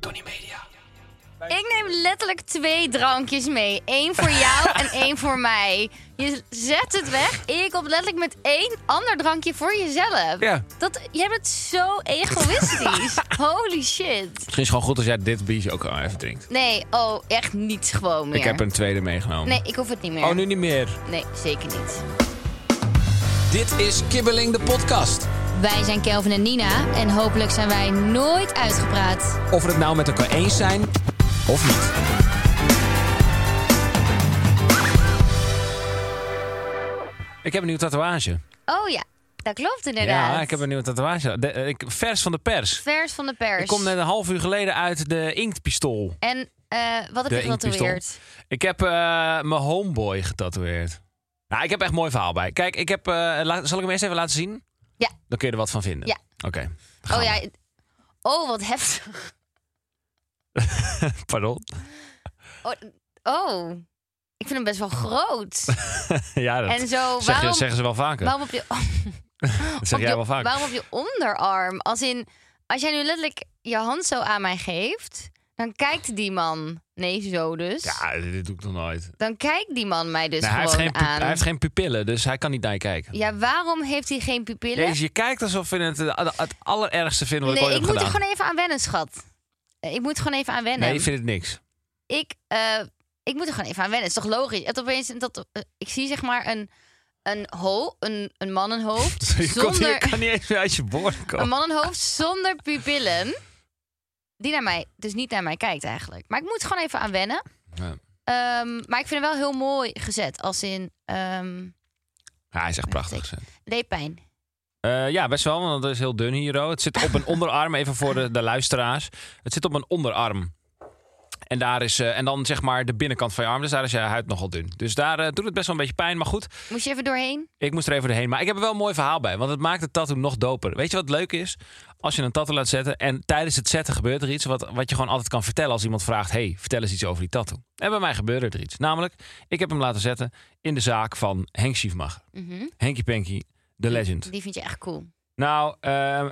Tony Media. Ik neem letterlijk twee drankjes mee. Eén voor jou en één voor mij. Je zet het weg. Ik op letterlijk met één ander drankje voor jezelf. Ja. Dat, jij bent zo egoïstisch. Holy shit. Misschien is het gewoon goed als jij dit biertje ook al even drinkt. Nee, oh, echt niet gewoon meer. Ik heb er een tweede meegenomen. Nee, ik hoef het niet meer. Oh, nu niet meer. Nee, zeker niet. Dit is Kibbeling de podcast. Wij zijn Kelvin en Nina en hopelijk zijn wij nooit uitgepraat. Of we het nou met elkaar eens zijn of niet. Ik heb een nieuwe tatoeage. Oh ja, dat klopt inderdaad. Ja, ik heb een nieuwe tatoeage. De- eh, ik, vers van de pers. Vers van de pers. Ik kom net een half uur geleden uit de inktpistool. En eh, wat heb De je getatoeëerd? inktpistool. Ik heb eh, mijn homeboy getatoeëerd. Nou, ik heb echt een mooi verhaal bij. Kijk, ik heb, eh, la- zal ik hem eerst even laten zien? Ja. Dan kun je er wat van vinden. Ja. Oké. Dan gaan Oh we. ja, oh wat heftig. Pardon. Oh, oh. ik vind hem best wel groot. ja, dat En zo, zeg je- waarom, zeggen ze wel vaker. waarom op je, dat op zeg je- jij wel vaker. waarom op je onderarm? Als in, als jij nu letterlijk je hand zo aan mij geeft, dan kijkt die man, nee zo dus, Ja, dit doe ik nog nooit. dan kijkt die man mij dus Nou, hij, gewoon heeft geen, pu- aan. hij heeft geen pupillen, dus hij kan niet naar je kijken. Ja, waarom heeft hij geen pupillen? Jezus, je kijkt alsof je het, eh, het allerergste vindt wat nee, ik ooit ik heb moet er gedaan. gewoon even aan wennen, schat. Eh, Ik moet gewoon even aan wennen. Nee, ik vind het niks. ik, eh, ik moet er gewoon even aan wennen. Het is toch logisch? Het opeens, dat, eh, ik zie zeg maar een, een, ho een, een mannenhoofd Je, komt, je zonder, kan niet eens meer uit je bord komen. een mannenhoofd zonder pupillen. Die naar mij, dus niet naar mij kijkt eigenlijk. Maar ik moet er gewoon even aan wennen. Ja. Ehm, maar ik vind hem wel heel mooi gezet. Als in, ehm Ja, hij is echt prachtig. ik. gezet. deed pijn. Eh, ja, best wel, want het is heel dun hier. oh. Het zit op een onderarm, even voor de, de luisteraars. Het zit op een onderarm. En, daar is, eh, en dan zeg maar de binnenkant van je arm. Dus daar is je huid nogal dun. Dus daar eh, doet het best wel een beetje pijn. Maar goed, Moest je even doorheen? Ik moest er even doorheen. Maar ik heb er wel een mooi verhaal bij. Want het maakt het tattoo nog doper. Weet je wat leuk is? Als je een tattoo laat zetten. En tijdens het zetten gebeurt er iets. Wat, wat je gewoon altijd kan vertellen als iemand vraagt. hey, vertel eens iets over die tattoo. En bij mij gebeurde er iets. Namelijk, ik heb hem laten zetten in de zaak van Henk Schiefmacher. Mhm. Henkie Panky, de legend. Die vind je echt cool. Nou, ehm,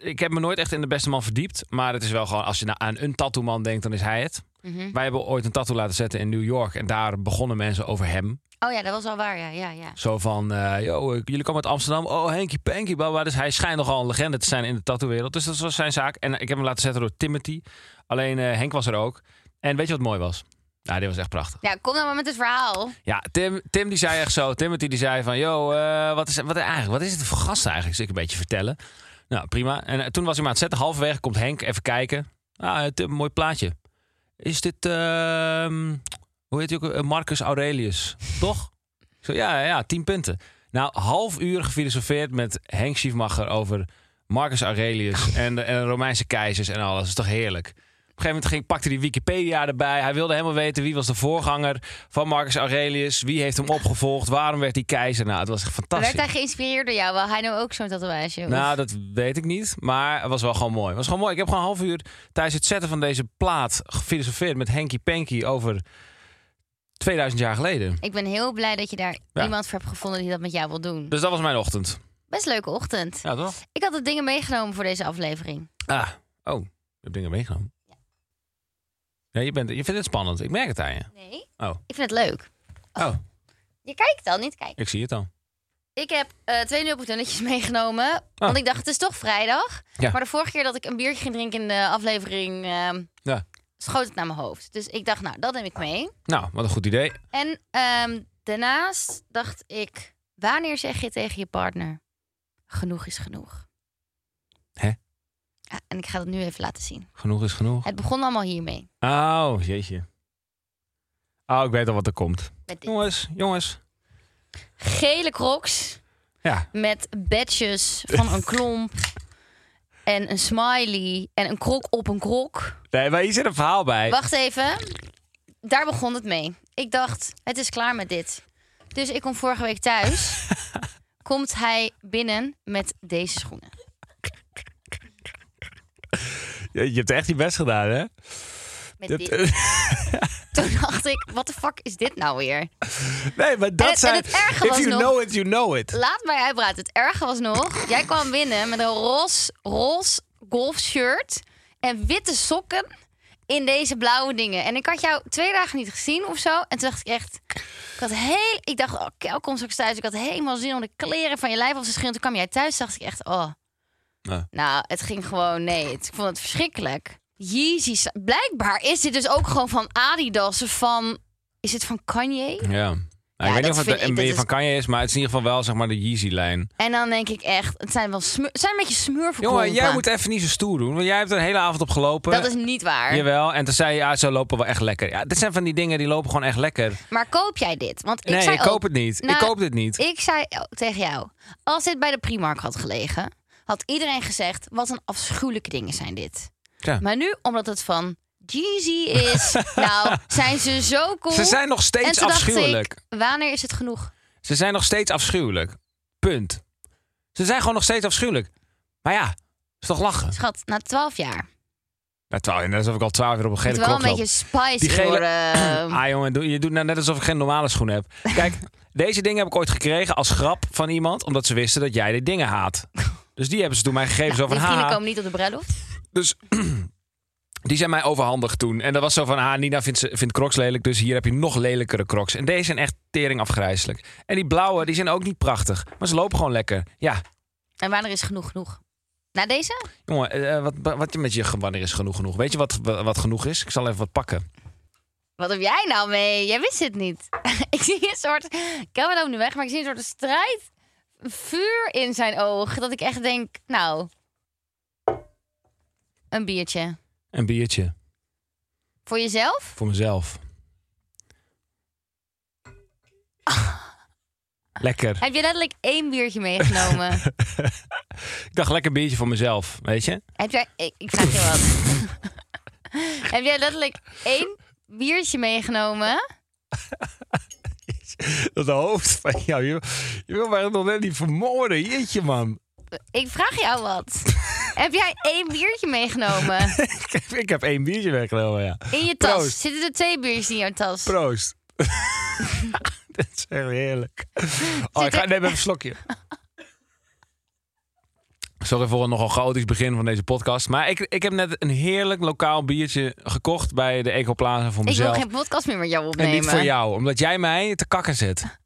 ik heb me nooit echt in de beste man verdiept. Maar het is wel gewoon, als je nou aan een tattoo man denkt, dan is hij het. Mhm. Wij hebben ooit een tattoo laten zetten in New York. En daar begonnen mensen over hem. Oh ja, dat was al waar. Ja, ja, ja. Zo van, eh, yo, eh, jullie komen uit Amsterdam. Oh, Henkie Panky, bla, bla. Dus hij schijnt nogal een legende te zijn in de tattoo-wereld. Dus dat was zijn zaak. En ik heb hem laten zetten door Timothy. Alleen eh, Henk was er ook. En weet je wat mooi was? Nou, dit was echt prachtig. Ja, kom dan maar met het verhaal. Ja, Tim, Tim die zei echt zo. Timothy die zei van, yo, eh, wat, is, wat, eigenlijk, wat is het voor gast eigenlijk? Zul ik een beetje vertellen. Nou, prima. En eh, toen was hij maar aan het zetten. Halverwege komt Henk even kijken. Ah, eh, Tim, mooi plaatje. Is dit, ehm, hoe heet hij ook? eh, Marcus Aurelius, toch? Ik Zo, ja, ja, ja, tien punten. Nou, half uur gefilosofeerd met Henk Schiefmacher over Marcus Aurelius en de, en de Romeinse keizers en alles. Dat is toch heerlijk? Op een gegeven moment ging, pakte hij Wikipedia erbij. Hij wilde helemaal weten wie was de voorganger van Marcus Aurelius. Wie heeft hem opgevolgd? Waarom werd hij keizer? Nou, het was echt fantastisch. Werd hij geïnspireerd door jou? Wel, hij nou ook zo'n tatoeage? Of- Nou, dat weet ik niet. Maar het was wel gewoon mooi. Het was gewoon mooi. Ik heb gewoon een half uur tijdens het zetten van deze plaat gefilosofeerd met Henky Panky over 2000 jaar geleden. Ik ben heel blij dat je daar Ja. iemand voor hebt gevonden die dat met jou wil doen. Dus dat was mijn ochtend. Best leuke ochtend. Ja, toch? Ik had de dingen meegenomen voor deze aflevering. Ah, oh, ik heb dingen meegenomen. Ja, je, bent, je vindt het spannend. Ik merk het aan je. Nee? Oh. Ik vind het leuk. Oh, Je kijkt al, niet kijken. ik zie het al. Ik heb eh, twee nulpuntonnetjes meegenomen. Want ik dacht, het is toch vrijdag. Ah. Ja. Maar de vorige keer dat ik een biertje ging drinken in de aflevering... ehm, Ja. schoot het naar mijn hoofd. Dus ik dacht, nou, dat neem ik mee. Nou, wat een goed idee. En ehm, daarnaast dacht ik... Wanneer zeg je tegen je partner... Genoeg is genoeg. Hè? Ja, en ik ga dat nu even laten zien. Genoeg is genoeg. Het begon allemaal hiermee. Oh, jeetje. Oh, ik weet al wat er komt. Met dit. Jongens, jongens. Gele crocs Ja, met badges van een klomp. en een smiley en een krok op een krok. Nee, maar hier zit een verhaal bij. Wacht even. Daar begon het mee. Ik dacht, het is klaar met dit. Dus ik kom vorige week thuis. komt hij binnen met deze schoenen. Je, je hebt echt je best gedaan, hè? Met Dat- dit. Toen dacht ik, wat de fuck is dit nou weer? nee, maar dat en het zijn... erge if was you nog- know it, you know it. Laat mij uitpraten. Het erge was nog, jij kwam binnen met een roze, roze golfshirt en witte sokken in deze blauwe dingen. En ik had jou twee dagen niet gezien of zo. En toen dacht ik echt, ik had heel, ik dacht, oh, Kel komt straks thuis. Ik had helemaal zin om de kleren van je lijf af te schillen. Toen kwam jij thuis, dacht ik echt, oh. Ja. Nou, het ging gewoon, nee, het- ik vond het verschrikkelijk. Jezus, blijkbaar is dit dus ook gewoon van Adidas of van, is het van Kanye? Ja. Nou, Ja, ik weet niet dat of het vind ik- een dat beetje is- van Kanye is, maar het is in ieder geval wel zeg maar de Yeezy-lijn. En dan denk ik echt, het zijn wel smeur, het zijn een beetje smurverkompen. Jongen, jij moet even niet zo stoer doen, want jij hebt er een hele avond op gelopen. Dat is niet waar. Jawel, en toen zei je, ja, ze lopen wel echt lekker. Ja, dit zijn van die dingen die lopen gewoon echt lekker. Maar koop jij dit? Want ik nee, zei ik koop ook- het niet. ik Nou, koop dit niet. Ik zei ook tegen jou, als dit bij de Primark had gelegen, had iedereen gezegd, wat een afschuwelijke dingen zijn dit. Ja. Maar nu, omdat het van Jeezy is, nou, zijn ze zo cool. Ze zijn nog en steeds toen afschuwelijk. dacht ik, wanneer is het genoeg? Ze zijn nog steeds afschuwelijk. Punt. Ze zijn gewoon nog steeds afschuwelijk. Maar ja, is toch lachen? Schat, na twaalf jaar. Nou, twa- net alsof ik al twaalf uur op een Het gele wel klok een loop. beetje spicy ehm. Die gele- worden. Ah jongen, doe- je doet nou net alsof ik geen normale schoen heb. Kijk, deze dingen heb ik ooit gekregen als grap van iemand... omdat ze wisten dat jij die dingen haat. Dus die hebben ze toen mij gegeven. zo Die van, vrienden ha, komen niet op de bruiloft. Dus die zijn mij overhandigd toen. En dat was zo van, ah, Nina vindt, ze- vindt crocs lelijk, dus hier heb je nog lelijkere crocs. En deze zijn echt tering afgrijzelijk. En die blauwe, die zijn ook niet prachtig. Maar ze lopen gewoon lekker. Ja, En wanneer is genoeg genoeg? Na deze? jongen, eh, wat, wat je met je wanneer is genoeg genoeg? Weet je wat, wat genoeg is? Ik zal even wat pakken. Wat heb jij nou mee? Jij wist het niet. ik zie een soort. Ik kan me ook nu weg, maar ik zie een soort strijd. Vuur in zijn oog. Dat ik echt denk, nou. Een biertje. Een biertje Voor jezelf? voor mezelf. Lekker. Heb je letterlijk één biertje meegenomen? Ik dacht lekker biertje voor mezelf, weet je? heb jij. Ik, ik vraag je wat. heb jij letterlijk één biertje meegenomen? Dat hoofd van jou. Je, je wil mij nog net niet vermoorden. Jeetje, man. Ik vraag jou wat. heb jij één biertje meegenomen? ik, heb, ik heb één biertje weggenomen, ja. In je tas. Proost. Zitten er twee biertjes in jouw tas? Proost. Dit is heel heerlijk. Oh, ik ga er- neem even een slokje. Sorry voor een nogal chaotisch begin van deze podcast. Maar ik, ik heb net een heerlijk lokaal biertje gekocht bij de Ecoplaza voor ik wil mezelf. geen podcast meer met jou en opnemen. niet voor jou, omdat jij mij te kakken zet.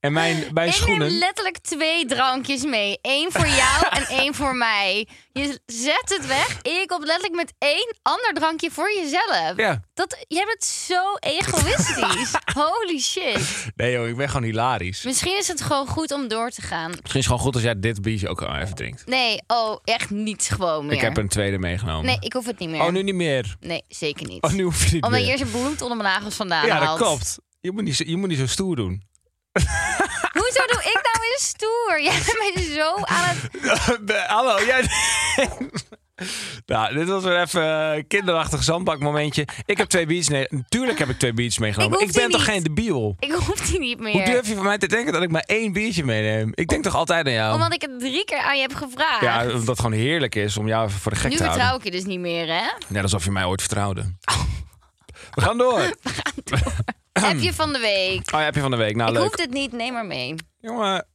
En mijn, mijn ik schoenen. neem letterlijk twee drankjes mee. Eén voor jou en één voor mij. Je zet het weg. Ik kom letterlijk met één ander drankje voor jezelf. Ja. Dat, jij bent zo egoïstisch. Holy shit. Nee joh, ik ben gewoon hilarisch. Misschien is het gewoon goed om door te gaan. Misschien is het gewoon goed als jij dit biertje ook even drinkt. Nee, oh, echt niet gewoon meer. Ik heb een tweede meegenomen. Nee, ik hoef het niet meer. Oh, nu niet meer. Nee, zeker niet. Oh, nu hoef je niet Omdat meer. je eerst het bloed onder mijn nagels vandaan ja, dat haalt. klopt. Je moet, niet, zo- je moet niet zo stoer doen. Hoezo doe ik nou weer stoer? Jij bent mij zo aan het... Be- Hallo, jij. nou, dit was weer even een kinderachtig zandbakmomentje. Ik heb twee beats. Nee, natuurlijk heb ik twee beats meegenomen. Ik Ik, hoef ben die toch niet. geen debiel? Ik hoef die niet meer. Hoe durf je van mij te denken dat ik maar één biertje meeneem? Ik denk toch altijd aan jou? Omdat ik het drie keer aan je heb gevraagd. Ja, omdat het gewoon heerlijk is om jou even voor de gek nu te houden. vertrouw ik je dus niet meer, hè? Net alsof je mij ooit vertrouwde. Oh. We gaan door. Oh, heb je van de week. ja, heb je van de week. Nou, ik leuk. hoef dit niet, neem maar mee. Jongen,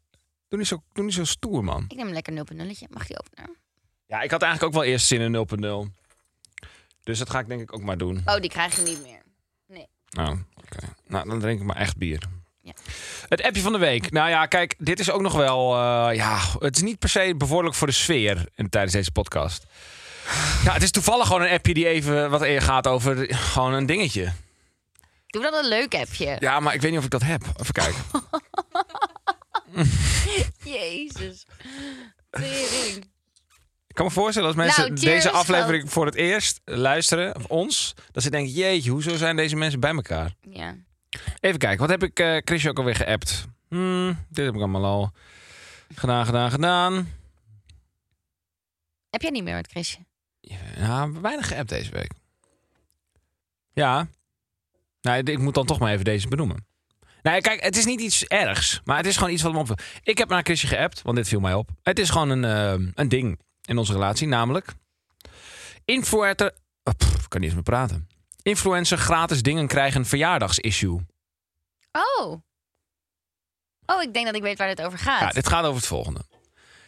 doe niet, zo, doe niet zo stoer, man. Ik neem lekker 0.0. Mag die openen? Ja, ik had eigenlijk ook wel eerst zin in 0.0. Dus dat ga ik denk ik ook maar doen. Oh, die krijg je niet meer. Oh, oké. Nou, dan drink ik maar echt bier. Ja. Het appje van de week. Nou ja, kijk, dit is ook nog wel... eh, ja, het is niet per se bevorderlijk voor de sfeer in, tijdens deze podcast. Ja, het is toevallig gewoon een appje die even wat eer gaat over gewoon een dingetje. Doe dan een leuk appje. Ja, maar ik weet niet of ik dat heb. Even kijken. Jezus. Tering. Ik kan me voorstellen als mensen Nou, cheers, deze aflevering voor het eerst luisteren, of ons, dat ze denken, jeetje, hoezo zijn deze mensen bij elkaar? Ja. Even kijken, wat heb ik eh Chris ook alweer geappt? Hmm, dit heb ik allemaal al gedaan, gedaan, gedaan. Heb jij niet meer met Chrisje? Ja, weinig geappt deze week. Ja. Nou, ik moet dan toch maar even deze benoemen. Nou, kijk, het is niet iets ergs, maar het is gewoon iets wat me opviel. Ik heb naar Chrisje geappt, want dit viel mij op. Het is gewoon een, eh, een ding in onze relatie, namelijk... Influencer... Oh, pff, ik kan niet eens meer praten. Influencer gratis dingen krijgen verjaardagsissue. Oh. Oh, ik denk dat ik weet waar dit over gaat. Ja, dit gaat over het volgende.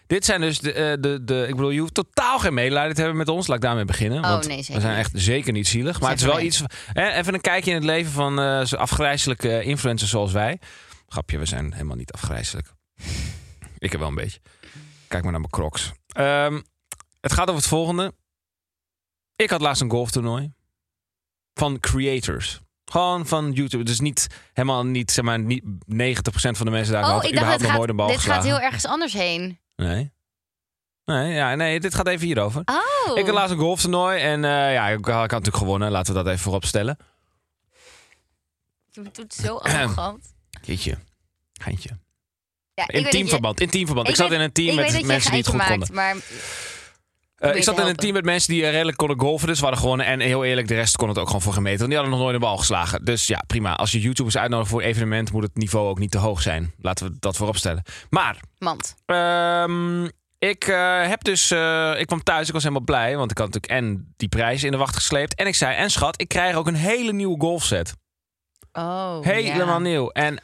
Dit zijn dus de, eh, de, de... Ik bedoel, je hoeft totaal geen medelijden te hebben met ons. Laat ik daarmee beginnen. Oh, want nee, zeker we zijn niet. echt zeker niet zielig. Maar het is Zeker wel iets... Hè, even een kijkje in het leven van eh, zo'n afgrijzelijke influencers zoals wij. Grapje, we zijn helemaal niet afgrijzelijk. ik heb wel een beetje. Kijk maar naar mijn crocs. Ehm, het gaat over het volgende. Ik had laatst een golftoernooi. Van creators. Gewoon van YouTube. Dus niet helemaal niet, zeg maar, niet 90% van de mensen daar oh, had ik dacht, überhaupt dit nog gaat, nooit een bal dit geslagen. gaat heel ergens anders heen. Nee. Nee, ja, nee, dit gaat even hierover. Oh. Ik had laatst een golftoernooi en eh, ja, ik, ik had natuurlijk gewonnen. Laten we dat even voorop stellen. Je doet het zo arrogant. Jeetje, geintje. Ja, ik weet In dat je- teamverband, in teamverband. Ik Ik, zat weet- in een team ik weet dat met je mensen die het geintje goed maakt, konden. Maar Eh, probeer ik te zat in een helpen. team met mensen die eh, redelijk konden golfen. Dus we hadden gewonnen. En heel eerlijk, de rest kon het ook gewoon voor gemeten. Want die hadden nog nooit een bal geslagen. Dus ja, prima. Als je YouTubers uitnodigt voor evenement, moet het niveau ook niet te hoog zijn. Laten we dat voorop stellen. Maar mand. Ehm, ik eh, heb dus. eh, ik kwam thuis, ik was helemaal blij. Want ik had natuurlijk en die prijs in de wacht gesleept. En ik zei: En schat, ik krijg ook een hele nieuwe golfset. Oh, Helemaal ja. nieuw. En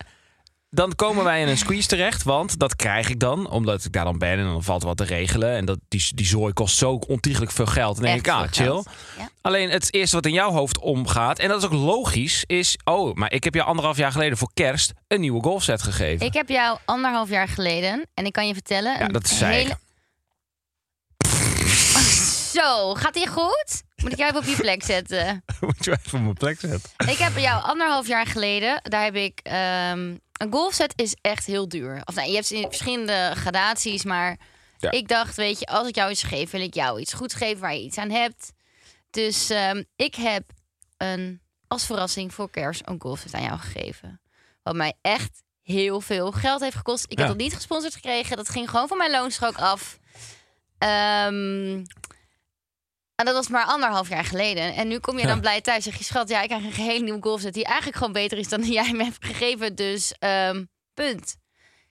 dan komen wij in een squeeze terecht. Want dat krijg ik dan, omdat ik daar dan ben. En dan valt wat te regelen. En dat, die, die zooi kost zo ontiegelijk veel geld. En dan denk Echt ik: Ah, veel chill. geld. Ja. Alleen het eerste wat in jouw hoofd omgaat. En dat is ook logisch. Is: Oh, maar ik heb jou anderhalf jaar geleden voor kerst een nieuwe golfset gegeven. Ik heb jou anderhalf jaar geleden, en ik kan je vertellen... ja, een dat zei ik. hele- Zo, gaat die goed? Moet ik jou even op je plek zetten? Moet je even op mijn plek zetten. Ik heb jou anderhalf jaar geleden, daar heb ik. ehm, een golfset is echt heel duur. Of nee, je hebt ze in verschillende gradaties, maar Ja. ik dacht, weet je, als ik jou iets geef, wil ik jou iets goed geven waar je iets aan hebt. Dus ehm, ik heb een, als verrassing voor kerst een golfset aan jou gegeven. Wat mij echt heel veel geld heeft gekost. Ik Ja. heb dat niet gesponsord gekregen. Dat ging gewoon van mijn loonstrook af. Ehm, en dat was maar anderhalf jaar geleden. En nu kom je Ja. dan blij thuis. Zeg je, schat, ja, ik krijg een geheel nieuwe golfset... die eigenlijk gewoon beter is dan die jij me hebt gegeven. Dus, ehm, punt.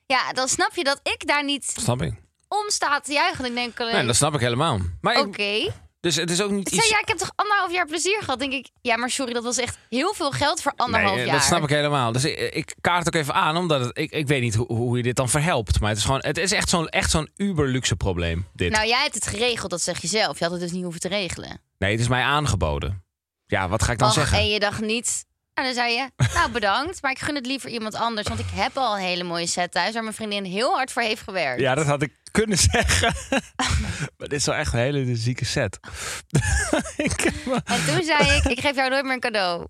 Ja, dan snap je dat ik daar niet Snap ik. om sta te juichen. Ik denk, alleen, Nee, dat snap ik helemaal. Maar ik- oké. dus het is ook niet Ik zei, iets... ja, ik heb toch anderhalf jaar plezier gehad? denk ik, ja, maar sorry, dat was echt heel veel geld voor anderhalf Nee, eh, jaar. dat snap ik helemaal. Dus ik, ik kaart ook even aan, omdat het- ik, ik weet niet hoe, hoe je dit dan verhelpt. Maar het is, gewoon, het is echt zo'n echt zo'n uber-luxe probleem, dit. Nou, jij hebt het geregeld, dat zeg je zelf. Je had het dus niet hoeven te regelen. Nee, het is mij aangeboden. Ja, wat ga ik dan Och, zeggen? en je dacht niet... En dan zei je, nou bedankt, maar ik gun het liever iemand anders. Want ik heb al een hele mooie set thuis... waar mijn vriendin heel hard voor heeft gewerkt. Ja, dat had ik kunnen zeggen. maar dit is wel echt een hele zieke set. ik, heb- En toen zei ik, ik geef jou nooit meer een cadeau.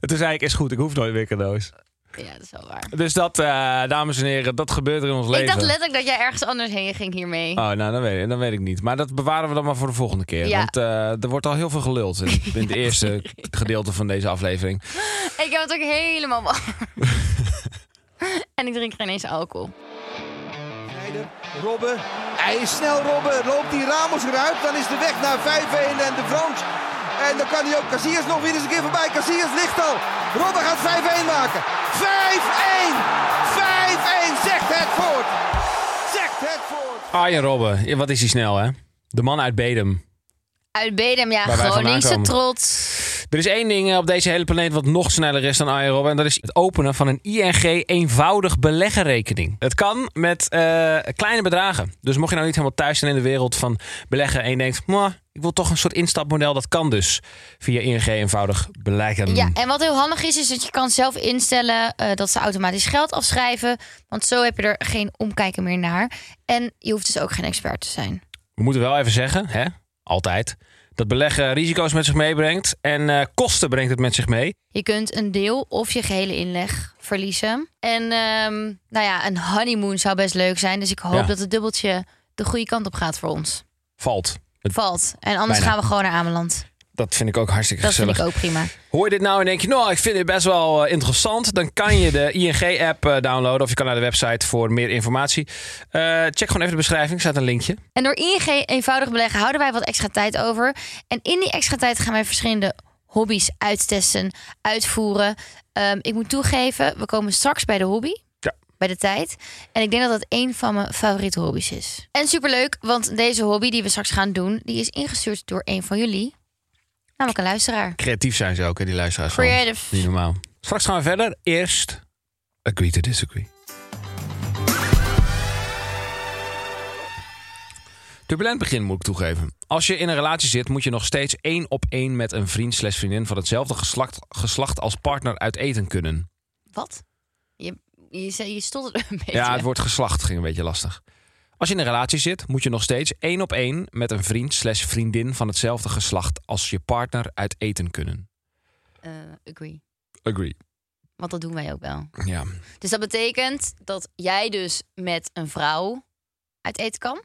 toen zei ik, is goed, ik hoef nooit weer cadeaus. Ja, dat is wel waar. Dus dat, eh, dames en heren, dat gebeurt er in ons leven. Ik dacht letterlijk dat jij ergens anders heen ging hiermee. Oh, nou, dan weet, ik, dan weet ik niet. Maar dat bewaren we dan maar voor de volgende keer. Ja. Want eh, er wordt al heel veel geluld in, in het eerste gedeelte van deze aflevering. Ik heb het ook helemaal warm. en ik drink geen eens alcohol. Snijder, Robben, hij is snel Robben, loopt die Ramos eruit, dan is de weg naar 5-1 en de Frans. En dan kan hij ook Casillas nog weer eens een keer voorbij, Casillas ligt al. Robben gaat 5-1 maken, 5-1, 5-1, zegt het voort, zegt het voort. Arjen Robben, ja, wat is hij snel, hè? De man uit Bedum. Uit Bedem, ja, Waar wij vandaan Groningse komen. trots. Er is één ding eh, op deze hele planeet wat nog sneller is dan Arjen Robben. En dat is het openen van een ING eenvoudig beleggenrekening. Het kan met eh, kleine bedragen. Dus mocht je nou niet helemaal thuis zijn in de wereld van beleggen... en je denkt, "Mwah, ik wil toch een soort instapmodel, dat kan dus. Via ING eenvoudig beleggen. Ja, en wat heel handig is, is dat je kan zelf instellen eh, dat ze automatisch geld afschrijven. Want zo heb je er geen omkijken meer naar. En je hoeft dus ook geen expert te zijn. We moeten wel even zeggen, hè, altijd, dat beleggen risico's met zich meebrengt en eh, kosten brengt het met zich mee. Je kunt een deel of je gehele inleg verliezen. En ehm, nou ja, een honeymoon zou best leuk zijn. Dus ik hoop Ja. dat het dubbeltje de goede kant op gaat voor ons. Valt. Het- Valt. En anders Bijna. gaan we gewoon naar Ameland. dat vind ik ook hartstikke Dat vind gezellig. ik ook prima. Hoor je dit nou en denk je, nou, ik vind dit best wel eh, interessant. Dan kan je de ING-app eh, downloaden of je kan naar de website voor meer informatie. Eh, check gewoon even de beschrijving, er staat een linkje. En door ING eenvoudig beleggen houden wij wat extra tijd over. En in die extra tijd gaan wij verschillende hobby's uittesten, uitvoeren. Ehm, ik moet toegeven, we komen straks bij de hobby. Ja. Bij de tijd. En ik denk dat dat een van mijn favoriete hobby's is. En superleuk, want deze hobby die we straks gaan doen, die is ingestuurd door een van jullie. Namelijk een luisteraar. Creatief zijn ze ook, hè, die luisteraars. van. Niet Creative. normaal. Straks gaan we verder. Eerst agree to disagree. Turbulent begin moet ik toegeven. Als je in een relatie zit, moet je nog steeds één op één met een vriend slash vriendin van hetzelfde geslacht, geslacht als partner uit eten kunnen. Wat? Je, je, zei- je stond er een beetje. Ja, het woord geslacht ging een beetje lastig. Als je in een relatie zit, moet je nog steeds één op één met een vriend slash vriendin van hetzelfde geslacht als je partner uit eten kunnen. Eh, agree. Agree. Want dat doen wij ook wel. Ja. Dus dat betekent dat jij dus met een vrouw uit eten kan.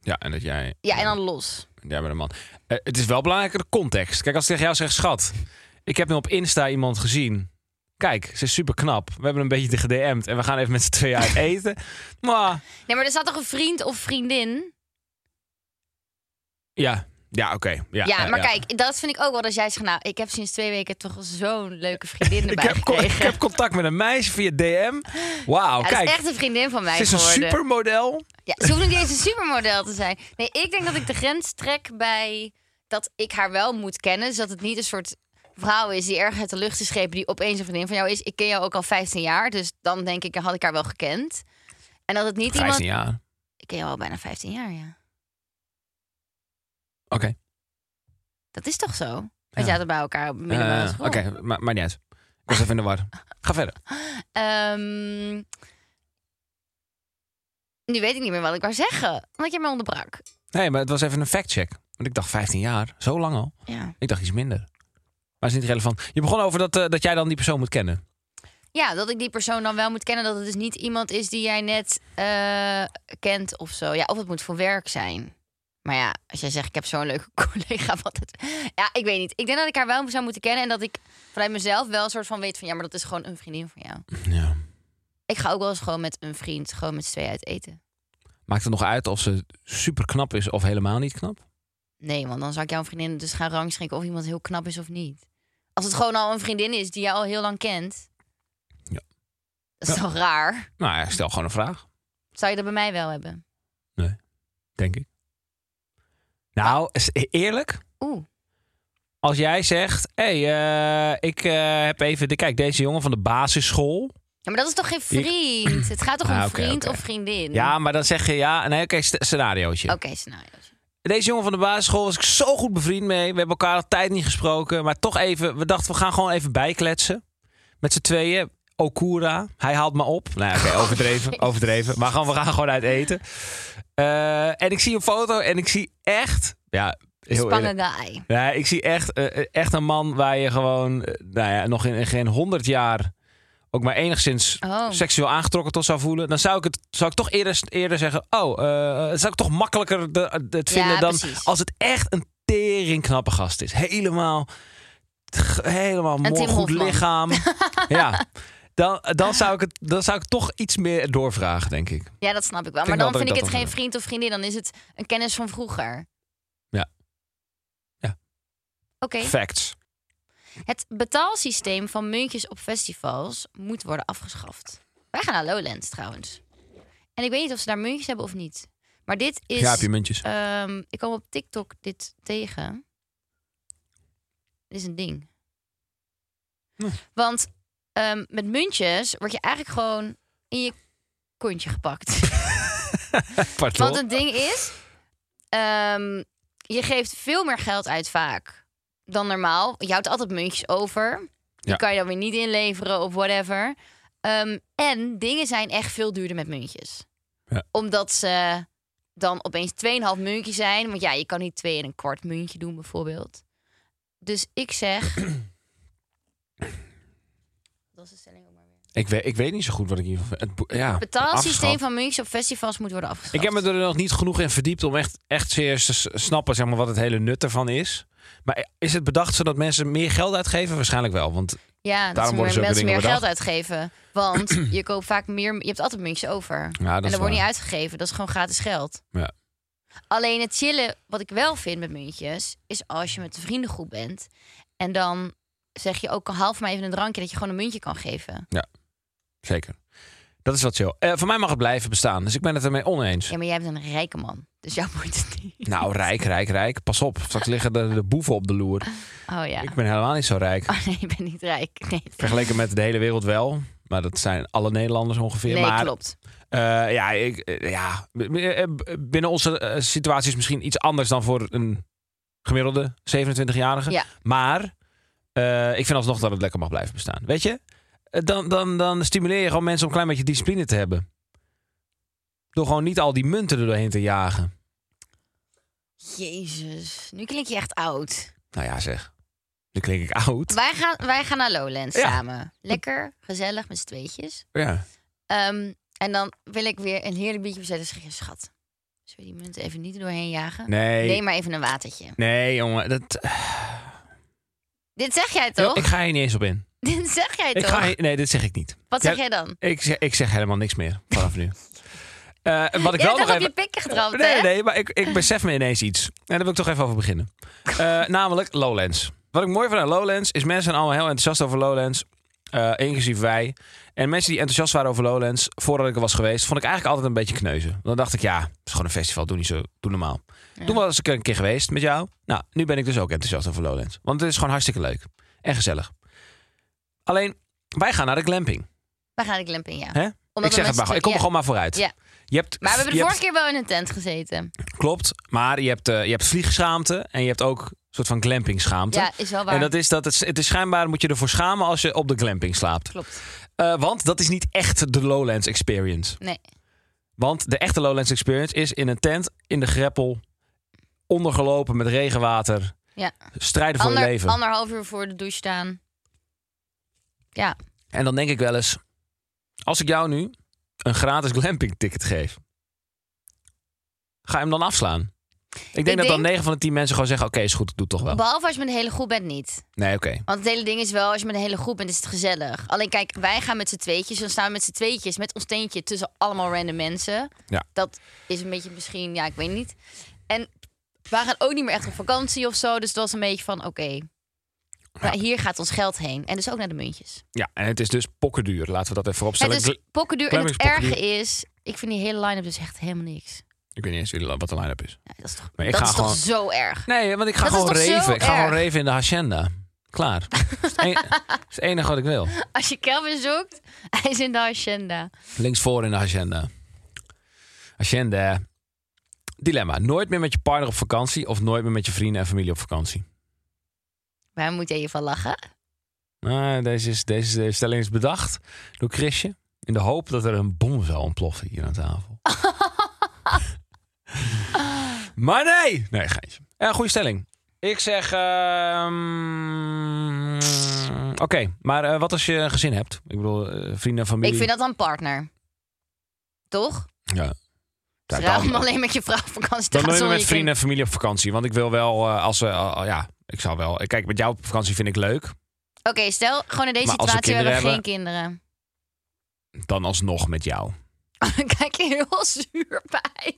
Ja, en dat jij... Ja, en dan los. Ja, maar de man. Eh, het is wel belangrijker de context. Kijk, als ik tegen jou zeg, schat, ik heb nu op Insta iemand gezien. Kijk, ze is super knap. We hebben een beetje gedM'd en we gaan even met z'n tweeën uit eten. Maar Nee, maar er staat toch een vriend of vriendin? ja, ja, oké. Ja, Ja, eh, maar kijk, dat vind ik ook wel. Als jij zegt, nou, ik heb sinds twee weken toch zo'n leuke vriendin Ik erbij heb, con- ik gekregen. heb contact met een meisje via DM. Wauw, Ja, dat kijk. is echt een vriendin van mij Ze is een geworden. supermodel. Ja, ze hoeft niet eens een supermodel te zijn. Nee, ik denk dat ik de grens trek bij dat ik haar wel moet kennen. Zodat het niet een soort vrouw is die erg uit de lucht is gegrepen... die opeens een vriendin van jou is. Ik ken jou ook al 15 jaar, dus dan denk ik, dan had ik haar wel gekend. En dat het niet 15 iemand... jaar. Ik ken jou al bijna 15 jaar, ja. Oké. Dat is toch zo? Want Ja. jij jij hadden bij elkaar op de middelbare Eh, school. oké, maar, maar niet uit. Ik was even in de war. Ga verder. Ehm, nu weet ik niet meer wat ik wou zeggen, omdat je me onderbrak. Nee, maar het was even een factcheck. Want ik dacht 15 jaar, zo lang al. Ja, Ik dacht iets minder. Maar is niet relevant. Je begon over dat, eh, dat jij dan die persoon moet kennen. ja dat ik die persoon dan wel moet kennen. Dat het dus niet iemand is die jij net eh, kent of zo. Ja, of het moet voor werk zijn. Maar ja, als jij zegt, ik heb zo'n leuke collega. Wat het... Ja, ik weet niet. Ik denk dat ik haar wel zou moeten kennen. En dat ik vanuit mezelf wel een soort van weet van... ja, maar dat is gewoon een vriendin van jou. Ja. Ik ga ook wel eens gewoon met een vriend, gewoon met z'n tweeën uit eten. Maakt het nog uit of ze super knap is of helemaal niet knap? Nee, want dan zou ik jouw vriendin dus gaan rangschikken of iemand heel knap is of niet. Als het gewoon al een vriendin is die jij al heel lang kent. Ja. Dat is Ja. toch raar? Nou ja, stel gewoon een vraag, Zou je dat bij mij wel hebben? denk ik. Nou, is- eerlijk, Oeh. als jij zegt: hé, hey, eh, ik eh, heb even. De, kijk, deze jongen van de basisschool. Ja, maar dat is toch geen vriend? Het gaat toch om Ah, oké, vriend oké. of vriendin? Ja, maar dan zeg je ja. Nee, oké, scenario. scenariootje. Oké, scenario's. Deze jongen van de basisschool was ik zo goed bevriend mee. We hebben elkaar al tijd niet gesproken. Maar toch even, we dachten we gaan gewoon even bijkletsen. Met z'n tweeën. Okura, hij haalt me op. Nou ja, oké, overdreven, overdreven. Maar gewoon, we gaan gewoon uit eten. Eh, en ik zie een foto en ik zie echt... Ja, heel eerlijk. Spannende guy. Nee, ik zie echt, eh, echt een man waar je gewoon eh, nou ja, nog in geen honderd jaar ook maar enigszins Oh. seksueel aangetrokken tot zou voelen. Dan zou ik het zou ik toch eerder, eerder zeggen, oh, eh, zou ik toch makkelijker de, het vinden Ja, dan precies. als het echt een teringknappe gast is. Helemaal, g- helemaal Tim mooi, goed Hofman. lichaam. ja, dan, dan, zou ik het, dan zou ik toch iets meer doorvragen, denk ik. Ja, dat snap ik wel. Ik denk maar dan wel vind dat ik ik het dat geen wel vriend of vriendin. Dan is het een kennis van vroeger. Ja. Ja. Oké. Facts. Het betaalsysteem van muntjes op festivals moet worden afgeschaft. Wij gaan naar Lowlands trouwens. En ik weet niet of ze daar muntjes hebben of niet. Maar dit is. Ja, heb je muntjes. ehm, ik kwam op TikTok dit tegen. Dit is een ding. Hm. Want ehm, met muntjes word je eigenlijk gewoon in je kontje gepakt. Pardon. Want het ding is, ehm, je geeft veel meer geld uit vaak dan normaal. Je houdt altijd muntjes over. Die Ja. kan je dan weer niet inleveren of whatever. Ehm, en dingen zijn echt veel duurder met muntjes. Ja. Omdat ze dan opeens 2,5 muntje zijn. Want ja, je kan niet twee en een kwart muntje doen bijvoorbeeld. Dus ik zeg... Dat is de stelling ook maar weer. Ik weet, ik weet niet zo goed wat ik hiervan vind. Het bo- ja, Het betaalsysteem afgeschaft. van muntjes op festivals moet worden afgeschaft. Ik heb me er nog niet genoeg in verdiept om echt, echt serieus te s- snappen zeg maar, wat het hele nut ervan is. Maar is het bedacht zodat mensen meer geld uitgeven? Waarschijnlijk wel. Want Ja, dat Daarom worden meer, zulke mensen meer dingen geld uitgeven. Want je koopt vaak meer. Je hebt altijd muntjes over. Ja, dat en is dat waar. wordt niet uitgegeven. Dat is gewoon gratis geld. Ja. Alleen het chillen, wat ik wel vind met muntjes, is als je met een vriendengroep bent. En dan zeg je ook half maar even een drankje dat je gewoon een muntje kan geven. zeker. Dat is wat chill. Eh, voor mij mag het blijven bestaan. Dus ik ben het ermee oneens. Ja, maar jij bent een rijke man. Dus jou moet het niet. Nou, rijk, rijk, rijk. Pas op. Straks liggen de, de boeven op de loer. Oh ja. Nou, Ik ben helemaal niet zo rijk. Oh nee, ik ben niet rijk. Nee, Vergeleken met de hele wereld wel. Maar dat zijn alle Nederlanders ongeveer. nee maar klopt. eh, ja, ik, eh, ja, eh, eh, binnen onze eh, situatie is misschien iets anders dan voor een gemiddelde 27-jarige. Ja. Maar eh, ik vind alsnog dat het lekker mag blijven bestaan. Weet je? Eh, Dan, dan, dan stimuleer je gewoon mensen om een klein beetje discipline te hebben. Door gewoon niet al die munten er doorheen te jagen. Jezus, nu klink je echt oud. Nou ja, zeg. Nu klink ik oud. Wij gaan, wij gaan naar Lowlands Ja. samen. Lekker, gezellig, met z'n tweetjes. Ja. Ehm, en dan wil ik weer een heerlijk biertje bezetten. Dus zeg je, schat, zullen we die munten even niet er doorheen jagen? Nee. Neem maar even een watertje. Nee, jongen. Dat, Dit zeg jij Joh, toch? ik ga hier niet eens op in. Dit zeg jij Ik toch? ga hier- nee, dit zeg ik niet. Wat zeg Ja, jij dan? Ik zeg, ik zeg helemaal niks meer vanaf nu. Eh, wat ik Jij wel hebt nog toch op je even... pikken getrapt, Nee, hè? nee, maar ik, ik besef me ineens iets. En daar wil ik toch even over beginnen. Eh, namelijk Lowlands. Wat ik mooi vind aan Lowlands is mensen zijn allemaal heel enthousiast over Lowlands. eh, inclusief wij. En mensen die enthousiast waren over Lowlands, voordat ik er was geweest, vond ik eigenlijk altijd een beetje kneuzen. Dan dacht ik, ja, het is gewoon een festival, doe niet zo, doe normaal. Toen was ik er een keer geweest met jou. Nou, nu ben ik dus ook enthousiast over Lowlands. Want het is gewoon hartstikke leuk. En gezellig. Alleen, wij gaan naar de glamping. Waar ga ik lempen in, ja. Hè? Omdat ik zeg we het maar, met z'n gewoon. ik kom er tweeën- gewoon maar vooruit. Ja. Je hebt, Maar we hebben de je vorige keer wel in een tent gezeten. hebt- Klopt, maar je hebt, eh, je hebt vliegschaamte en je hebt ook een soort van glampingschaamte. Ja, is wel waar. En dat is dat het, het is schijnbaar moet je ervoor schamen als je op de glamping slaapt. Klopt. Eh, want dat is niet echt de Lowlands Experience. Nee. Want de echte Lowlands Experience is in een tent in de greppel, ondergelopen met regenwater, Ja. strijden voor je Ander, leven. anderhalf uur voor de douche staan. Ja. En dan denk ik wel eens, als ik jou nu een gratis glamping ticket geef, ga je hem dan afslaan? Ik denk dat dan denk- 9 van de 10 mensen gewoon zeggen, oké, is goed, ik doe het toch wel. Behalve als je met een hele groep bent niet. Nee, oké. Want het hele ding is wel, als je met een hele groep bent, is het gezellig. Alleen kijk, wij gaan met z'n tweetjes. Dan staan we met z'n tweetjes met ons teentje tussen allemaal random mensen. Ja. Dat is een beetje misschien, ja, ik weet niet. En wij gaan ook niet meer echt op vakantie of zo. Dus dat was een beetje van, oké, maar hier gaat ons geld heen. En dus ook naar de muntjes. Ja, en het is dus pokkenduur. Laten we dat even Het opstellen. is pokkenduur. En Klein het beetje erge pokkenduur. is, ik vind die hele line-up dus echt helemaal niks. Ik weet niet eens wie- wat de line-up is. Ja, dat is toch, Maar ik dat ga is gewoon- toch zo erg. Nee, want ik ga Dat is gewoon toch zo reven. Ik ga gewoon erg? reven in de hacienda. Klaar. Dat is het en- dat is het enige wat ik wil. Als je Kelvin zoekt, hij is in de agenda. Links voor in de agenda. Agenda. Dilemma. Nooit meer met je partner op vakantie of nooit meer met je vrienden en familie op vakantie. Waar moet je van lachen? Nou, deze, is, deze eh, stelling is bedacht door Chrisje. In de hoop dat er een bom zou ontploffen hier aan tafel. maar nee! Nee, geintje. Eh, goede stelling. Ik zeg... ehm, Oké, maar eh, wat als je een gezin hebt? Ik bedoel, eh, vrienden en familie. Ik vind dat dan partner. Toch? Ja. Het is Ja, raar Nou, dan- om alleen met je vrouw op vakantie te Dan gaan. nooit meer zonder met je vrienden en familie op vakantie. Want ik wil wel, eh, als ze... eh, ja, ik zou wel... Kijk, met jou op vakantie vind ik leuk. kind. Oké, stel gewoon in deze Maar als we situatie we hebben geen kinderen kinderen. Dan alsnog met jou. Dan kijk je heel zuur bij.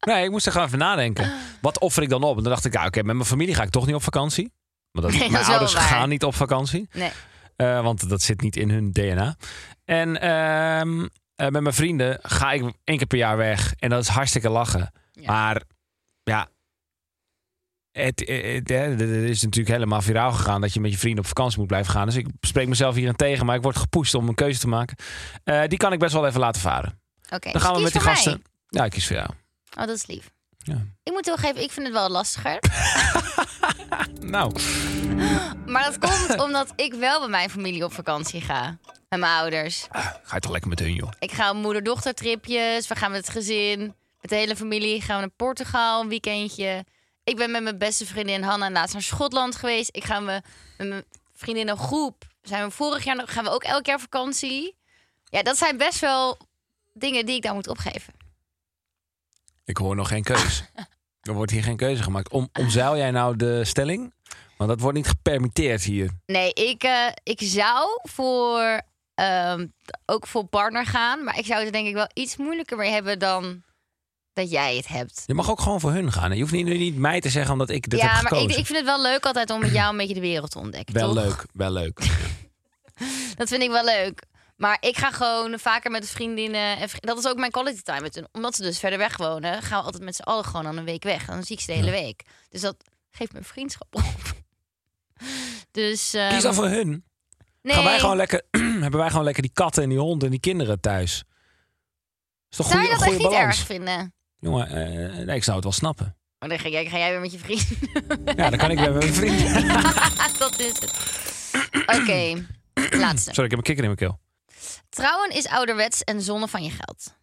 Nee, ik moest er gewoon even nadenken. Wat offer ik dan op? En dan dacht ik, ja, oké, met mijn familie ga ik toch niet op vakantie. Want dat, Nee, dat mijn is wel ouders waar. gaan niet op vakantie. Nee. Eh, want dat zit niet in hun DNA. En ehm, eh, met mijn vrienden ga ik één keer per jaar weg. En dat is hartstikke lachen. Ja. Maar ja, het, eh, het- hè, het is natuurlijk helemaal viraal gegaan dat je met je vrienden op vakantie moet blijven gaan. Dus ik spreek mezelf hierin tegen, maar ik word gepusht om een keuze te maken. Eh, die kan ik best wel even laten varen. Oké, Dan gaan we dus met die kies voor gasten. Ja, ik kies voor jou. mij. Oh, dat is lief. Ja. Ik moet toegeven, ik vind het wel lastiger. Nou. Maar dat komt omdat ik wel bij mijn familie op vakantie ga. Met mijn ouders. Ga je toch lekker met hun, joh. Ik ga op moeder-dochter tripjes. We gaan met het gezin. Met de hele familie gaan we naar Portugal een weekendje. Ik ben met mijn beste vriendin Hanna laatst naar Schotland geweest. Ik ga me, met mijn vriendin een groep. Zijn we vorig jaar nog- gaan we ook elk jaar vakantie. Ja, dat zijn best wel dingen die ik daar moet opgeven. Ik hoor nog geen keus. er wordt hier geen keuze gemaakt. Om, omzeil jij nou de stelling? Want dat wordt niet gepermitteerd hier. Nee, ik, eh, ik zou voor ehm, ook voor partner gaan. Maar ik zou het denk ik wel iets moeilijker mee hebben dan dat jij het hebt. Je mag ook gewoon voor hun gaan. hè. Je hoeft niet, nu niet mij te zeggen omdat ik dit ja, heb maar gekozen. ik, ik vind het wel leuk altijd om met jou een beetje de wereld te ontdekken. wel toch? Ehm, leuk, wel leuk. Dat vind ik wel leuk. Maar ik ga gewoon vaker met vriendinnen. En vri- dat is ook mijn quality time. met hun. Omdat ze dus verder weg wonen, gaan we altijd met z'n allen gewoon aan een week weg. Dan zie ik ze de hele week. Dus dat geeft mijn vriendschap op. Dus. ehm, Kies dan voor hun. nee. Gaan wij gewoon lekker, hebben wij gewoon lekker die katten en die honden en die kinderen thuis. Is toch Zou goede, je dat goede echt niet balans? erg vinden? Jongen, eh, nee, ik zou het wel snappen. Maar dan ga jij, ga jij weer met je vrienden. Ja, dan kan ik weer met mijn vrienden. dat is het. Oké, laatste. Sorry, ik heb een kikker in mijn keel. Trouwen is ouderwets en zonnen van je geld.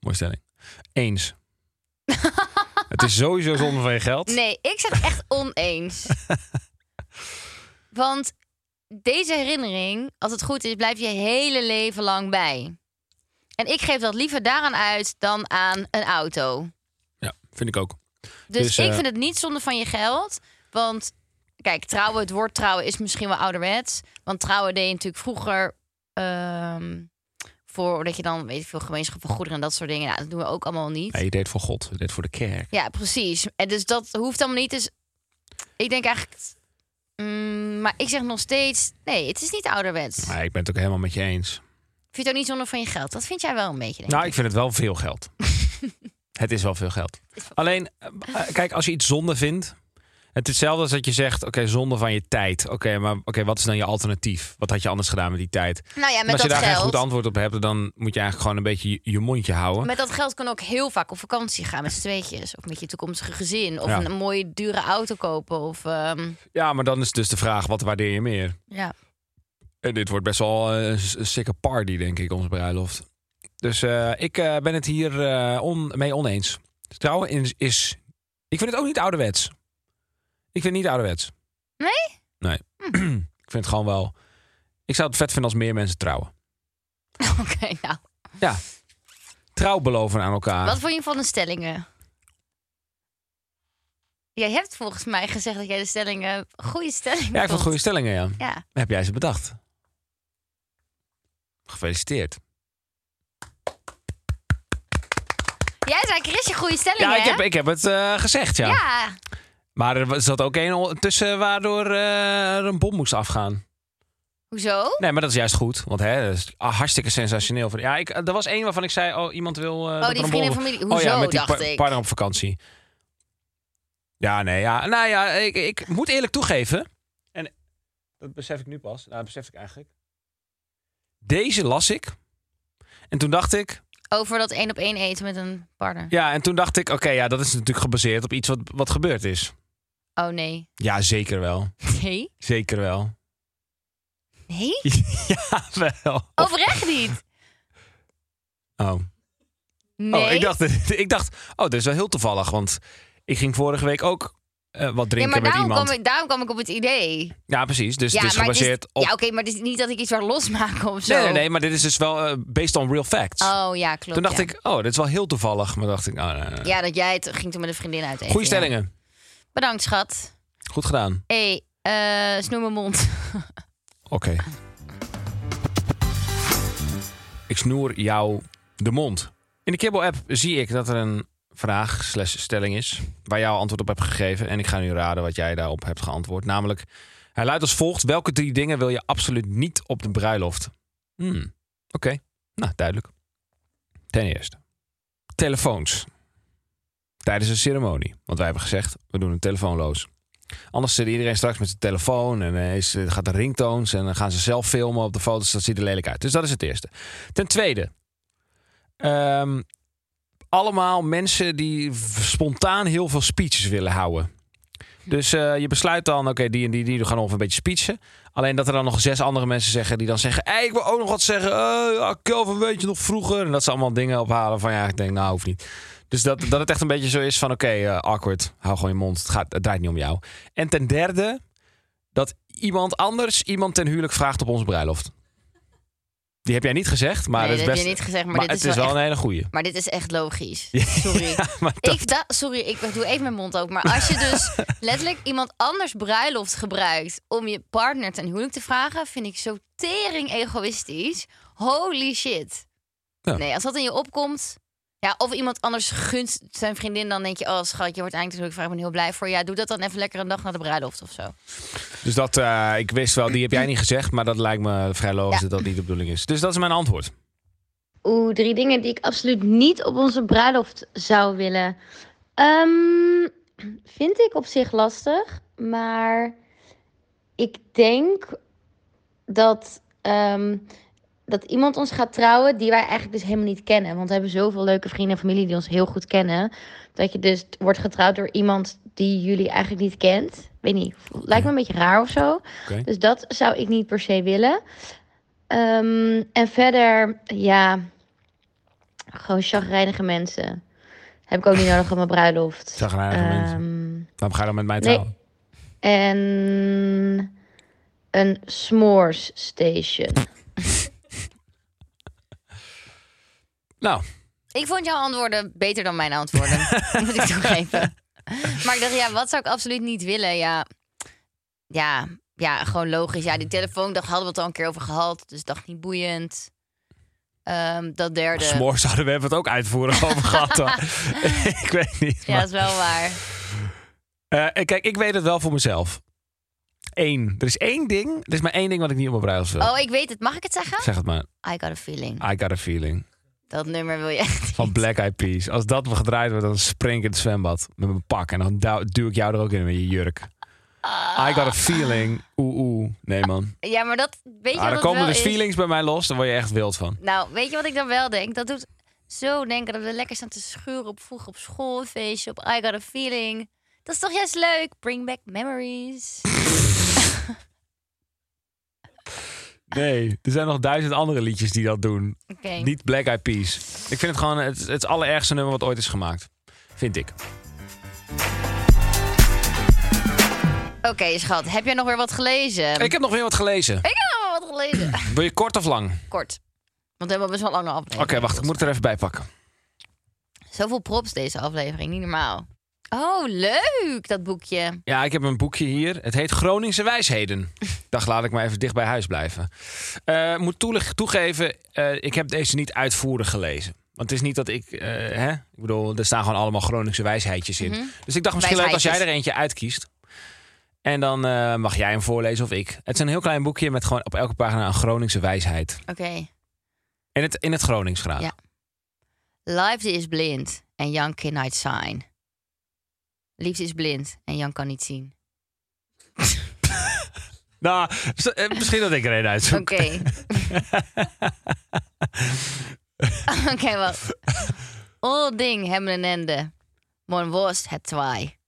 Mooie stelling. Eens. het is sowieso zonde van je geld. Nee, ik zeg echt oneens. Want deze herinnering, als het goed is, blijf je hele leven lang bij. En ik geef dat liever daaraan uit dan aan een auto. Ja, vind ik ook. Dus, Dus, ik eh, vind het niet zonde van je geld. Want kijk, trouwen, het woord trouwen is misschien wel ouderwets. Want trouwen deed je natuurlijk vroeger. ehm voor dat je dan, weet ik veel, gemeenschap van goederen en dat soort dingen. Nou, dat doen we ook allemaal niet. Nee, je deed voor God. Je deed voor de kerk. Ja, precies. En dus dat hoeft allemaal niet. Dus ik denk eigenlijk. mm, maar ik zeg nog steeds. Nee, het is niet ouderwets. Maar ik ben het ook helemaal met je eens. Vind je het ook niet zonde van je geld? Dat vind jij wel een beetje. Denk ik. Nou, ik vind het wel veel geld. het is wel veel geld. Alleen, eh, eh, kijk, als je iets zonde vindt. Het is hetzelfde als dat je zegt, oké, zonde van je tijd. Oké, maar oké, wat is dan je alternatief? Wat had je anders gedaan met die tijd? Nou ja, En als met je dat daar geen geld. goed antwoord op hebt, dan moet je eigenlijk gewoon een beetje je, je mondje houden. Met dat geld kan ook heel vaak op vakantie gaan met z'n tweetjes. Of met je toekomstige gezin. Of Ja. een mooie dure auto kopen. Of ehm, Ja, maar dan is dus de vraag, wat waardeer je meer? ja. En dit wordt best wel eh, een s- een sikke party, denk ik, onze bruiloft. Dus eh, ik eh, ben het hier eh, on, mee oneens. Trouwen is, is... Ik vind het ook niet ouderwets. Ik vind het niet ouderwets. Nee? Hm. Nee. ik vind het gewoon wel... Ik zou het vet vinden als meer mensen trouwen. Oké, nou. Ja. Trouw beloven aan elkaar. Wat vond je van de stellingen? Jij hebt volgens mij gezegd dat jij de stellingen goede stellingen Ja, ik vond vond. goede stellingen, ja. Ja. Heb jij ze bedacht? Gefeliciteerd. Jij zei Chrisje goede stellingen, Ja, ik hè? heb, ik heb het eh, gezegd, ja. ja. Maar er zat ook één tussen waardoor eh, er een bom moest afgaan. Hoezo? Nee, maar dat is juist goed. Want hè, dat is hartstikke sensationeel. Van, ja, ik, er was één waarvan ik zei, oh, iemand wil... eh, dat er die een vrienden bom- en familie. Oh ja, Hoezo, met die dacht ik. partner op vakantie. Ja, nee, ja. Nou ja, ik, ik moet eerlijk toegeven. En dat besef ik nu pas. Nou, dat besef ik eigenlijk. Deze las ik. En toen dacht ik, Over dat één op één eten met een partner. ja, en toen dacht ik, oké, ja, dat is natuurlijk gebaseerd op iets wat, wat gebeurd is. Oh nee. Ja, zeker wel. Nee? Zeker wel. Nee? ja, wel. Oh. Overrecht niet. Oh. Nee. Oh, ik dacht, ik dacht, oh, dat is wel heel toevallig, want ik ging vorige week ook eh, wat ja, drinken maar met daarom iemand. kwam, ik, daarom kwam ik op het idee. Ja, precies. Dus ja, het is maar gebaseerd het is, op. Ja, oké, maar het is niet dat ik iets waar losmaak of zo. nee, nee, nee, maar dit is dus wel eh, based on real facts. Oh ja, klopt. toen dacht ja. ik, oh, dit is wel heel toevallig. Maar dacht ik, oh, nee, nee, nee. Ja, dat jij het ging toen met een vriendin uit eten. goede ja. stellingen. Bedankt, schat. Goed gedaan. Hé, hey, snoer mijn mond. Oké. Ik snoer jou de mond. In de Kibbel-app zie ik dat er een vraag slash stelling is... waar jou antwoord op hebt gegeven. En ik ga nu raden wat jij daarop hebt geantwoord. Namelijk, hij luidt als volgt. Welke drie dingen wil je absoluut niet op de bruiloft? Hmm, Oké, nou duidelijk. Ten eerste, telefoons. Tijdens een ceremonie. Want wij hebben gezegd, we doen een telefoonloos. Anders zit iedereen straks met zijn telefoon en eh, is, gaat de ringtones en dan gaan ze zelf filmen op de foto's. Dat ziet er lelijk uit. Dus dat is het eerste. Ten tweede, ehm, allemaal mensen die v- spontaan heel veel speeches willen houden. Dus eh, je besluit dan, oké, die en die, die gaan nog een beetje speechen. Alleen dat er dan nog zes andere mensen zeggen die dan zeggen... Hey, ik wil ook nog wat zeggen. Eh, ja, Kelvin, weet je nog vroeger? En dat ze allemaal dingen ophalen van ja, ik denk, nou, hoeft niet. Dus dat, dat het echt een beetje zo is van, oké, eh, awkward, hou gewoon je mond. Het, gaat, het draait niet om jou. En ten derde, dat iemand anders iemand ten huwelijk vraagt op onze bruiloft. Die heb jij niet gezegd, maar Nee, het is dat heb best- je niet gezegd, maar dit het is is wel wel een hele goeie. Maar dit is echt logisch. Sorry. Maar dat- Ik da- sorry, ik doe even mijn mond open. Maar als je dus letterlijk iemand anders bruiloft gebruikt om je partner ten huwelijk te vragen, vind ik zo tering egoïstisch. Holy shit. Ja. Nee, als dat in je opkomt. Ja, of iemand anders gunt zijn vriendin, dan denk je, oh schat, je wordt eigenlijk ik vraag ben heel blij voor. je. Ja, doe dat dan even lekker een dag na de bruiloft of zo. Dus dat, eh, ik wist wel, die heb jij niet gezegd, maar dat lijkt me vrij logisch Ja. dat dat niet de bedoeling is. Dus dat is mijn antwoord. Oeh, drie dingen die ik absoluut niet op onze bruiloft zou willen. Ehm, vind ik op zich lastig, maar ik denk dat, ehm, dat iemand ons gaat trouwen die wij eigenlijk dus helemaal niet kennen. Want we hebben zoveel leuke vrienden en familie die ons heel goed kennen. Dat je dus wordt getrouwd door iemand die jullie eigenlijk niet kent. Weet niet, lijkt me een beetje raar of zo. Oké. Dus dat zou ik niet per se willen. Ehm, en verder, ja, gewoon chagrijnige mensen. Heb ik ook niet nodig op mijn bruiloft. Chagrijnige mensen. Ehm, Waarom ga je dan met mij Nee. trouwen? En een s'mores station. Nou, Ik vond jouw antwoorden beter dan mijn antwoorden. moet ik toegeven. Maar ik dacht, ja, wat zou ik absoluut niet willen? Ja, ja, ja gewoon logisch. Ja, die telefoon, daar hadden we het al een keer over gehad. Dus dacht niet boeiend. Ehm, dat derde. s'morgens hadden we hebben het ook uitvoerig over gehad. hoor. ik weet niet. ja, maar- dat is wel waar. Eh, kijk, ik weet het wel voor mezelf. Eén. Er is één ding. Er is maar één ding wat ik niet op mijn bruiloft wil. Oh, ik weet het. Mag ik het zeggen? Zeg het maar. I got a feeling. I got a feeling. Dat nummer wil je echt. Van Black Eyed Peas. Als dat me gedraaid wordt, dan spring ik in het zwembad. Met mijn pak. En dan duw, duw ik jou er ook in met je jurk. Ah. I got a feeling. Oeh, oeh. Nee, man. Ja, maar dat weet je Ah, wat dan het komen wel dus is? feelings bij mij los. Dan word je echt wild van. Nou, weet je wat ik dan wel denk? Dat doet zo denken dat we lekker staan te schuren op vroeg op school, een feestje, op I Got A Feeling. Dat is toch juist leuk? Bring back memories. Nee. Er zijn nog duizend andere liedjes die dat doen. Oké. Niet Black Eyed Peas. Ik vind het gewoon het, het allerergste nummer wat ooit is gemaakt. Vind ik. Oké, schat. Heb jij nog weer wat gelezen? Ik heb nog weer wat gelezen. Ik heb nog wel wat gelezen. Wil je kort of lang? Oké, Kort. Want we hebben best wel een lange aflevering. wacht. Ik moet het er even bij pakken. Zoveel props deze aflevering. Niet normaal. Oh, leuk, dat boekje. Ja, ik heb een boekje hier. Het heet Groningse Wijsheden. Dacht, laat ik maar even dicht bij huis blijven. Eh, moet toelig- toegeven, eh, ik heb deze niet uitvoerig gelezen. Want het is niet dat ik... eh, hè? Ik bedoel, er staan gewoon allemaal Groningse wijsheidjes in. Mhm. Dus ik dacht misschien leuk als jij er Wijsheidjes. eentje uitkiest. En dan eh, mag jij hem voorlezen of ik. Het is een heel klein boekje met gewoon op elke pagina een Groningse wijsheid. Oké. In het, in het Gronings graag. Ja. Liefde is blind en Jan can niet zien. Liefde is blind en Jan kan niet zien. Nou, s- eh, misschien dat ik er een uitzoek. Oké. Oké, wacht. All ding hebben een ende. Mijn worst het twee.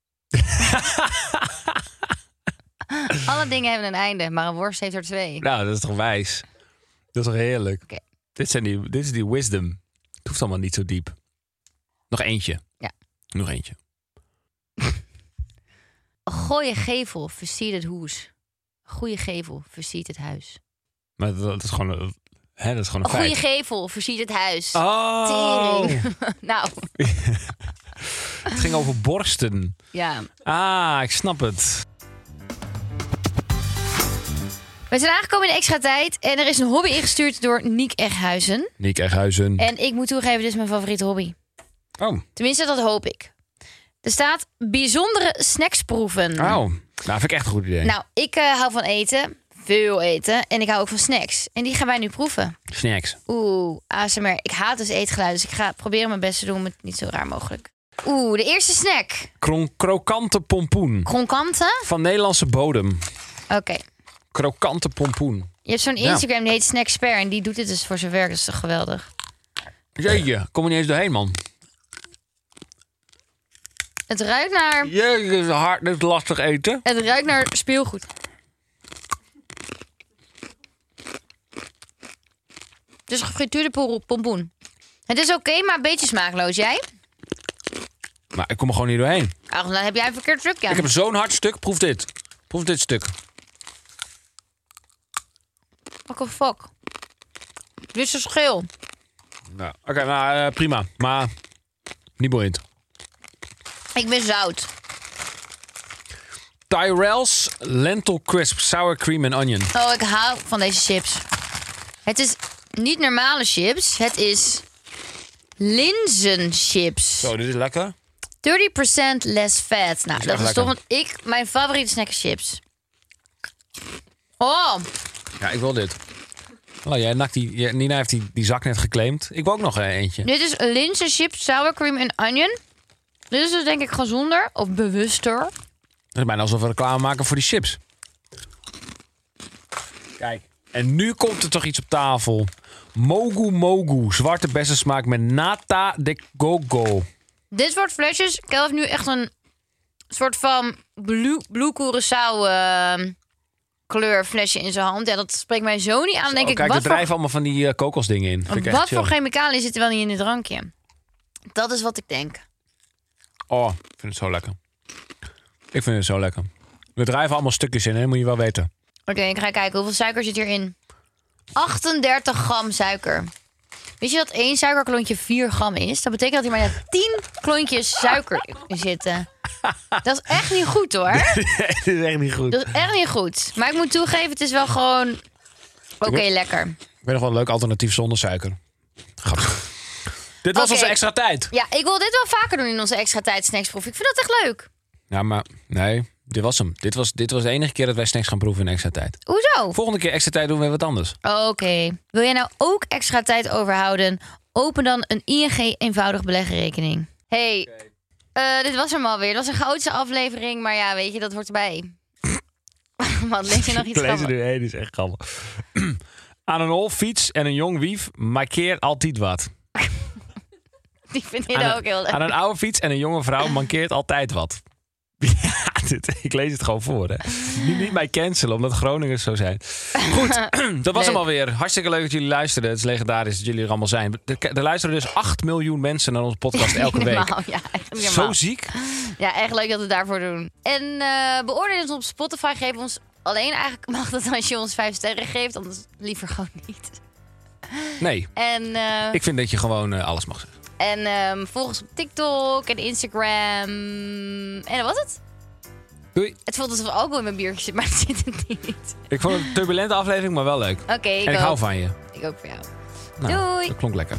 Alle dingen hebben een einde, maar een worst heeft er twee. Nou, dat is toch wijs? Dat is toch heerlijk? Oké. Dit, zijn die, dit is die wisdom. Het hoeft allemaal niet zo diep. Nog eentje. Ja. Nog eentje. Een gooie gevel versiert het hoes. Een goede gevel versiert het huis. Maar dat, dat is gewoon een, hè, dat is gewoon Een een goede feit. gevel versiert het huis. Oh! Tering. nou, Het ging over borsten. ja. Ah, ik snap het. We zijn aangekomen in de extra tijd. En er is een hobby ingestuurd door Niek Eghuizen. Niek Eghuizen. En ik moet toegeven, dit is mijn favoriete hobby. Oh. Tenminste, dat hoop ik. Er staat bijzondere snacksproeven. Oh. Nou, vind ik echt een goed idee. Nou, ik eh, hou van eten. Veel eten. En ik hou ook van snacks. En die gaan wij nu proeven. Snacks. Oeh, ASMR. Ik haat dus eetgeluid. Dus ik ga proberen mijn best te doen om het niet zo raar mogelijk. Oeh, de eerste snack. Kron- krokante pompoen. Kronkanten. Van Nederlandse bodem. Oké. Krokante pompoen. Je hebt zo'n Instagram, die heet Snacksper. En die doet dit dus voor zijn werk. Dat is toch geweldig. Jeetje, kom er niet eens doorheen, man. Het ruikt naar... Jeetje, dit is hard, dit is lastig eten. Het ruikt naar speelgoed. Het is gefrituurde poel- pompoen. Het is oké, maar een beetje smaakloos. Jij? Maar Nou, ik kom er gewoon niet doorheen. Ach, dan heb jij een verkeerd trucje aan. Ik heb zo'n hard stuk. Proef dit. Proef dit stuk. Fuck of fuck. Dit is een schil. Nou, Oké, nou eh, prima. Maar niet boeiend. Ik ben zout. Tyrell's Lentil Crisp Sour Cream and Onion. Oh, ik hou van deze chips. Het is niet normale chips. Het is linzenchips. 30% Zo, dit is lekker. less fat. Nou, dat is lekker. toch wat ik... Mijn favoriete snack is chips. Oh, Ja, ik wil dit. Oh, jij nakt die, jij- Nina heeft die, die zak net geclaimd. Ik wil ook nog eh, eentje. dit is linzenchips, sour cream en onion. Dit is dus denk ik gezonder of bewuster. Het is bijna alsof we reclame maken voor die chips. Kijk. En nu komt er toch iets op tafel. Mogu Mogu. Zwarte bessensmaak met nata de gogo. Dit soort flesjes. Ik heb nu echt een soort van blue, blue Curaçao eh, kleur flesje in zijn hand. Ja, dat spreekt mij zo niet aan. Dan denk Oh, ik, kijk, er wat voor drijven allemaal van die eh, kokosdingen in. Vind ik echt Wat chill. voor chemicaliën zitten wel niet in dit drankje? Dat is wat ik denk. Oh, ik vind het zo lekker. Ik vind het zo lekker. We drijven allemaal stukjes in, hè? moet je wel weten. Oké, ik ga kijken. Hoeveel suiker zit hierin? 38 gram suiker. Wist je dat één suikerklontje 4 gram is? Dat betekent dat hier maar net 10 klontjes suiker in zitten. Dat is echt niet goed hoor. Dit is echt niet goed. Dat is echt niet goed. Maar ik moet toegeven, het is wel gewoon... Oké, lekker. Ik weet nog wel een leuk alternatief zonder suiker. Grappig. Dit was Oké. onze extra tijd. Ja, ik wil dit wel vaker doen in onze extra tijd snacksproef. Ik vind dat echt leuk. Ja, maar nee, dit was hem. Dit was, dit was de enige keer dat wij snacks gaan proeven in extra tijd. Hoezo? Volgende keer extra tijd doen we weer wat anders. Oké. Wil jij nou ook extra tijd overhouden? Open dan een ING eenvoudig beleggenrekening. Hey, eh, dit was hem alweer. Dat was een chaotische aflevering, maar ja, weet je, dat hoort erbij. Wat lees je nog iets van? nu één, is echt grappig. Aan een hol, fiets en een jong wief markeert altijd wat. Die vind je aan, nou een- ook heel leuk. aan een oude fiets en een jonge vrouw mankeert altijd wat. Ja, dit, ik lees het gewoon voor. Hè. Niet, niet mij cancelen, omdat Groningers zo zijn. Goed, dat was hem Leuk. alweer. Hartstikke leuk dat jullie luisterden. Het is legendarisch dat jullie er allemaal zijn. Er, er luisteren dus 8 miljoen mensen naar onze podcast elke Niet week. normaal, ja, echt niet Zo normaal. ziek. Ja, echt leuk dat we het daarvoor doen. En eh, beoordeel ons op Spotify. Geef ons alleen eigenlijk mag dat als je ons vijf sterren geeft, anders liever gewoon niet. Nee, En, eh, ik vind dat je gewoon eh, alles mag zeggen. en ehm, volg ons op TikTok en Instagram. En dat was het. Doei. Het voelt alsof er alcohol in mijn biertje zit, maar het zit het niet. Ik vond het een turbulente aflevering, maar wel leuk. Oké, ik, en ik ook. hou van je. Ik ook van jou. Nou, Doei. Dat klonk lekker.